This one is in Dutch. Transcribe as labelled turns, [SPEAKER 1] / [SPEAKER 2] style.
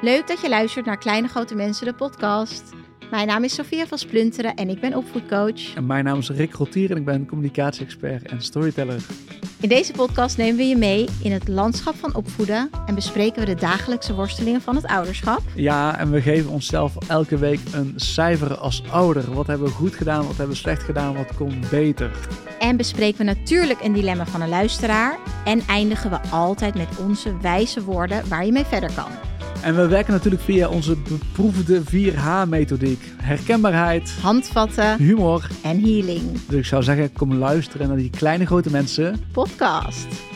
[SPEAKER 1] Leuk dat je luistert naar Kleine Grote Mensen, de podcast. Mijn naam is Sofia van Splunteren en ik ben opvoedcoach.
[SPEAKER 2] En mijn naam is Rick Rotier en ik ben communicatie-expert en storyteller.
[SPEAKER 1] In deze podcast nemen we je mee in het landschap van opvoeden en bespreken we de dagelijkse worstelingen van het ouderschap.
[SPEAKER 2] Ja, en we geven onszelf elke week een cijfer als ouder. Wat hebben we goed gedaan, wat hebben we slecht gedaan, wat kon beter?
[SPEAKER 1] En bespreken we natuurlijk een dilemma van een luisteraar. En eindigen we altijd met onze wijze woorden waar je mee verder kan.
[SPEAKER 2] En we werken natuurlijk via onze beproefde 4H-methodiek. Herkenbaarheid,
[SPEAKER 1] Handvatten
[SPEAKER 2] humor.
[SPEAKER 1] en healing.
[SPEAKER 2] Dus ik zou zeggen, kom luisteren naar die kleine grote mensen.
[SPEAKER 1] Podcast.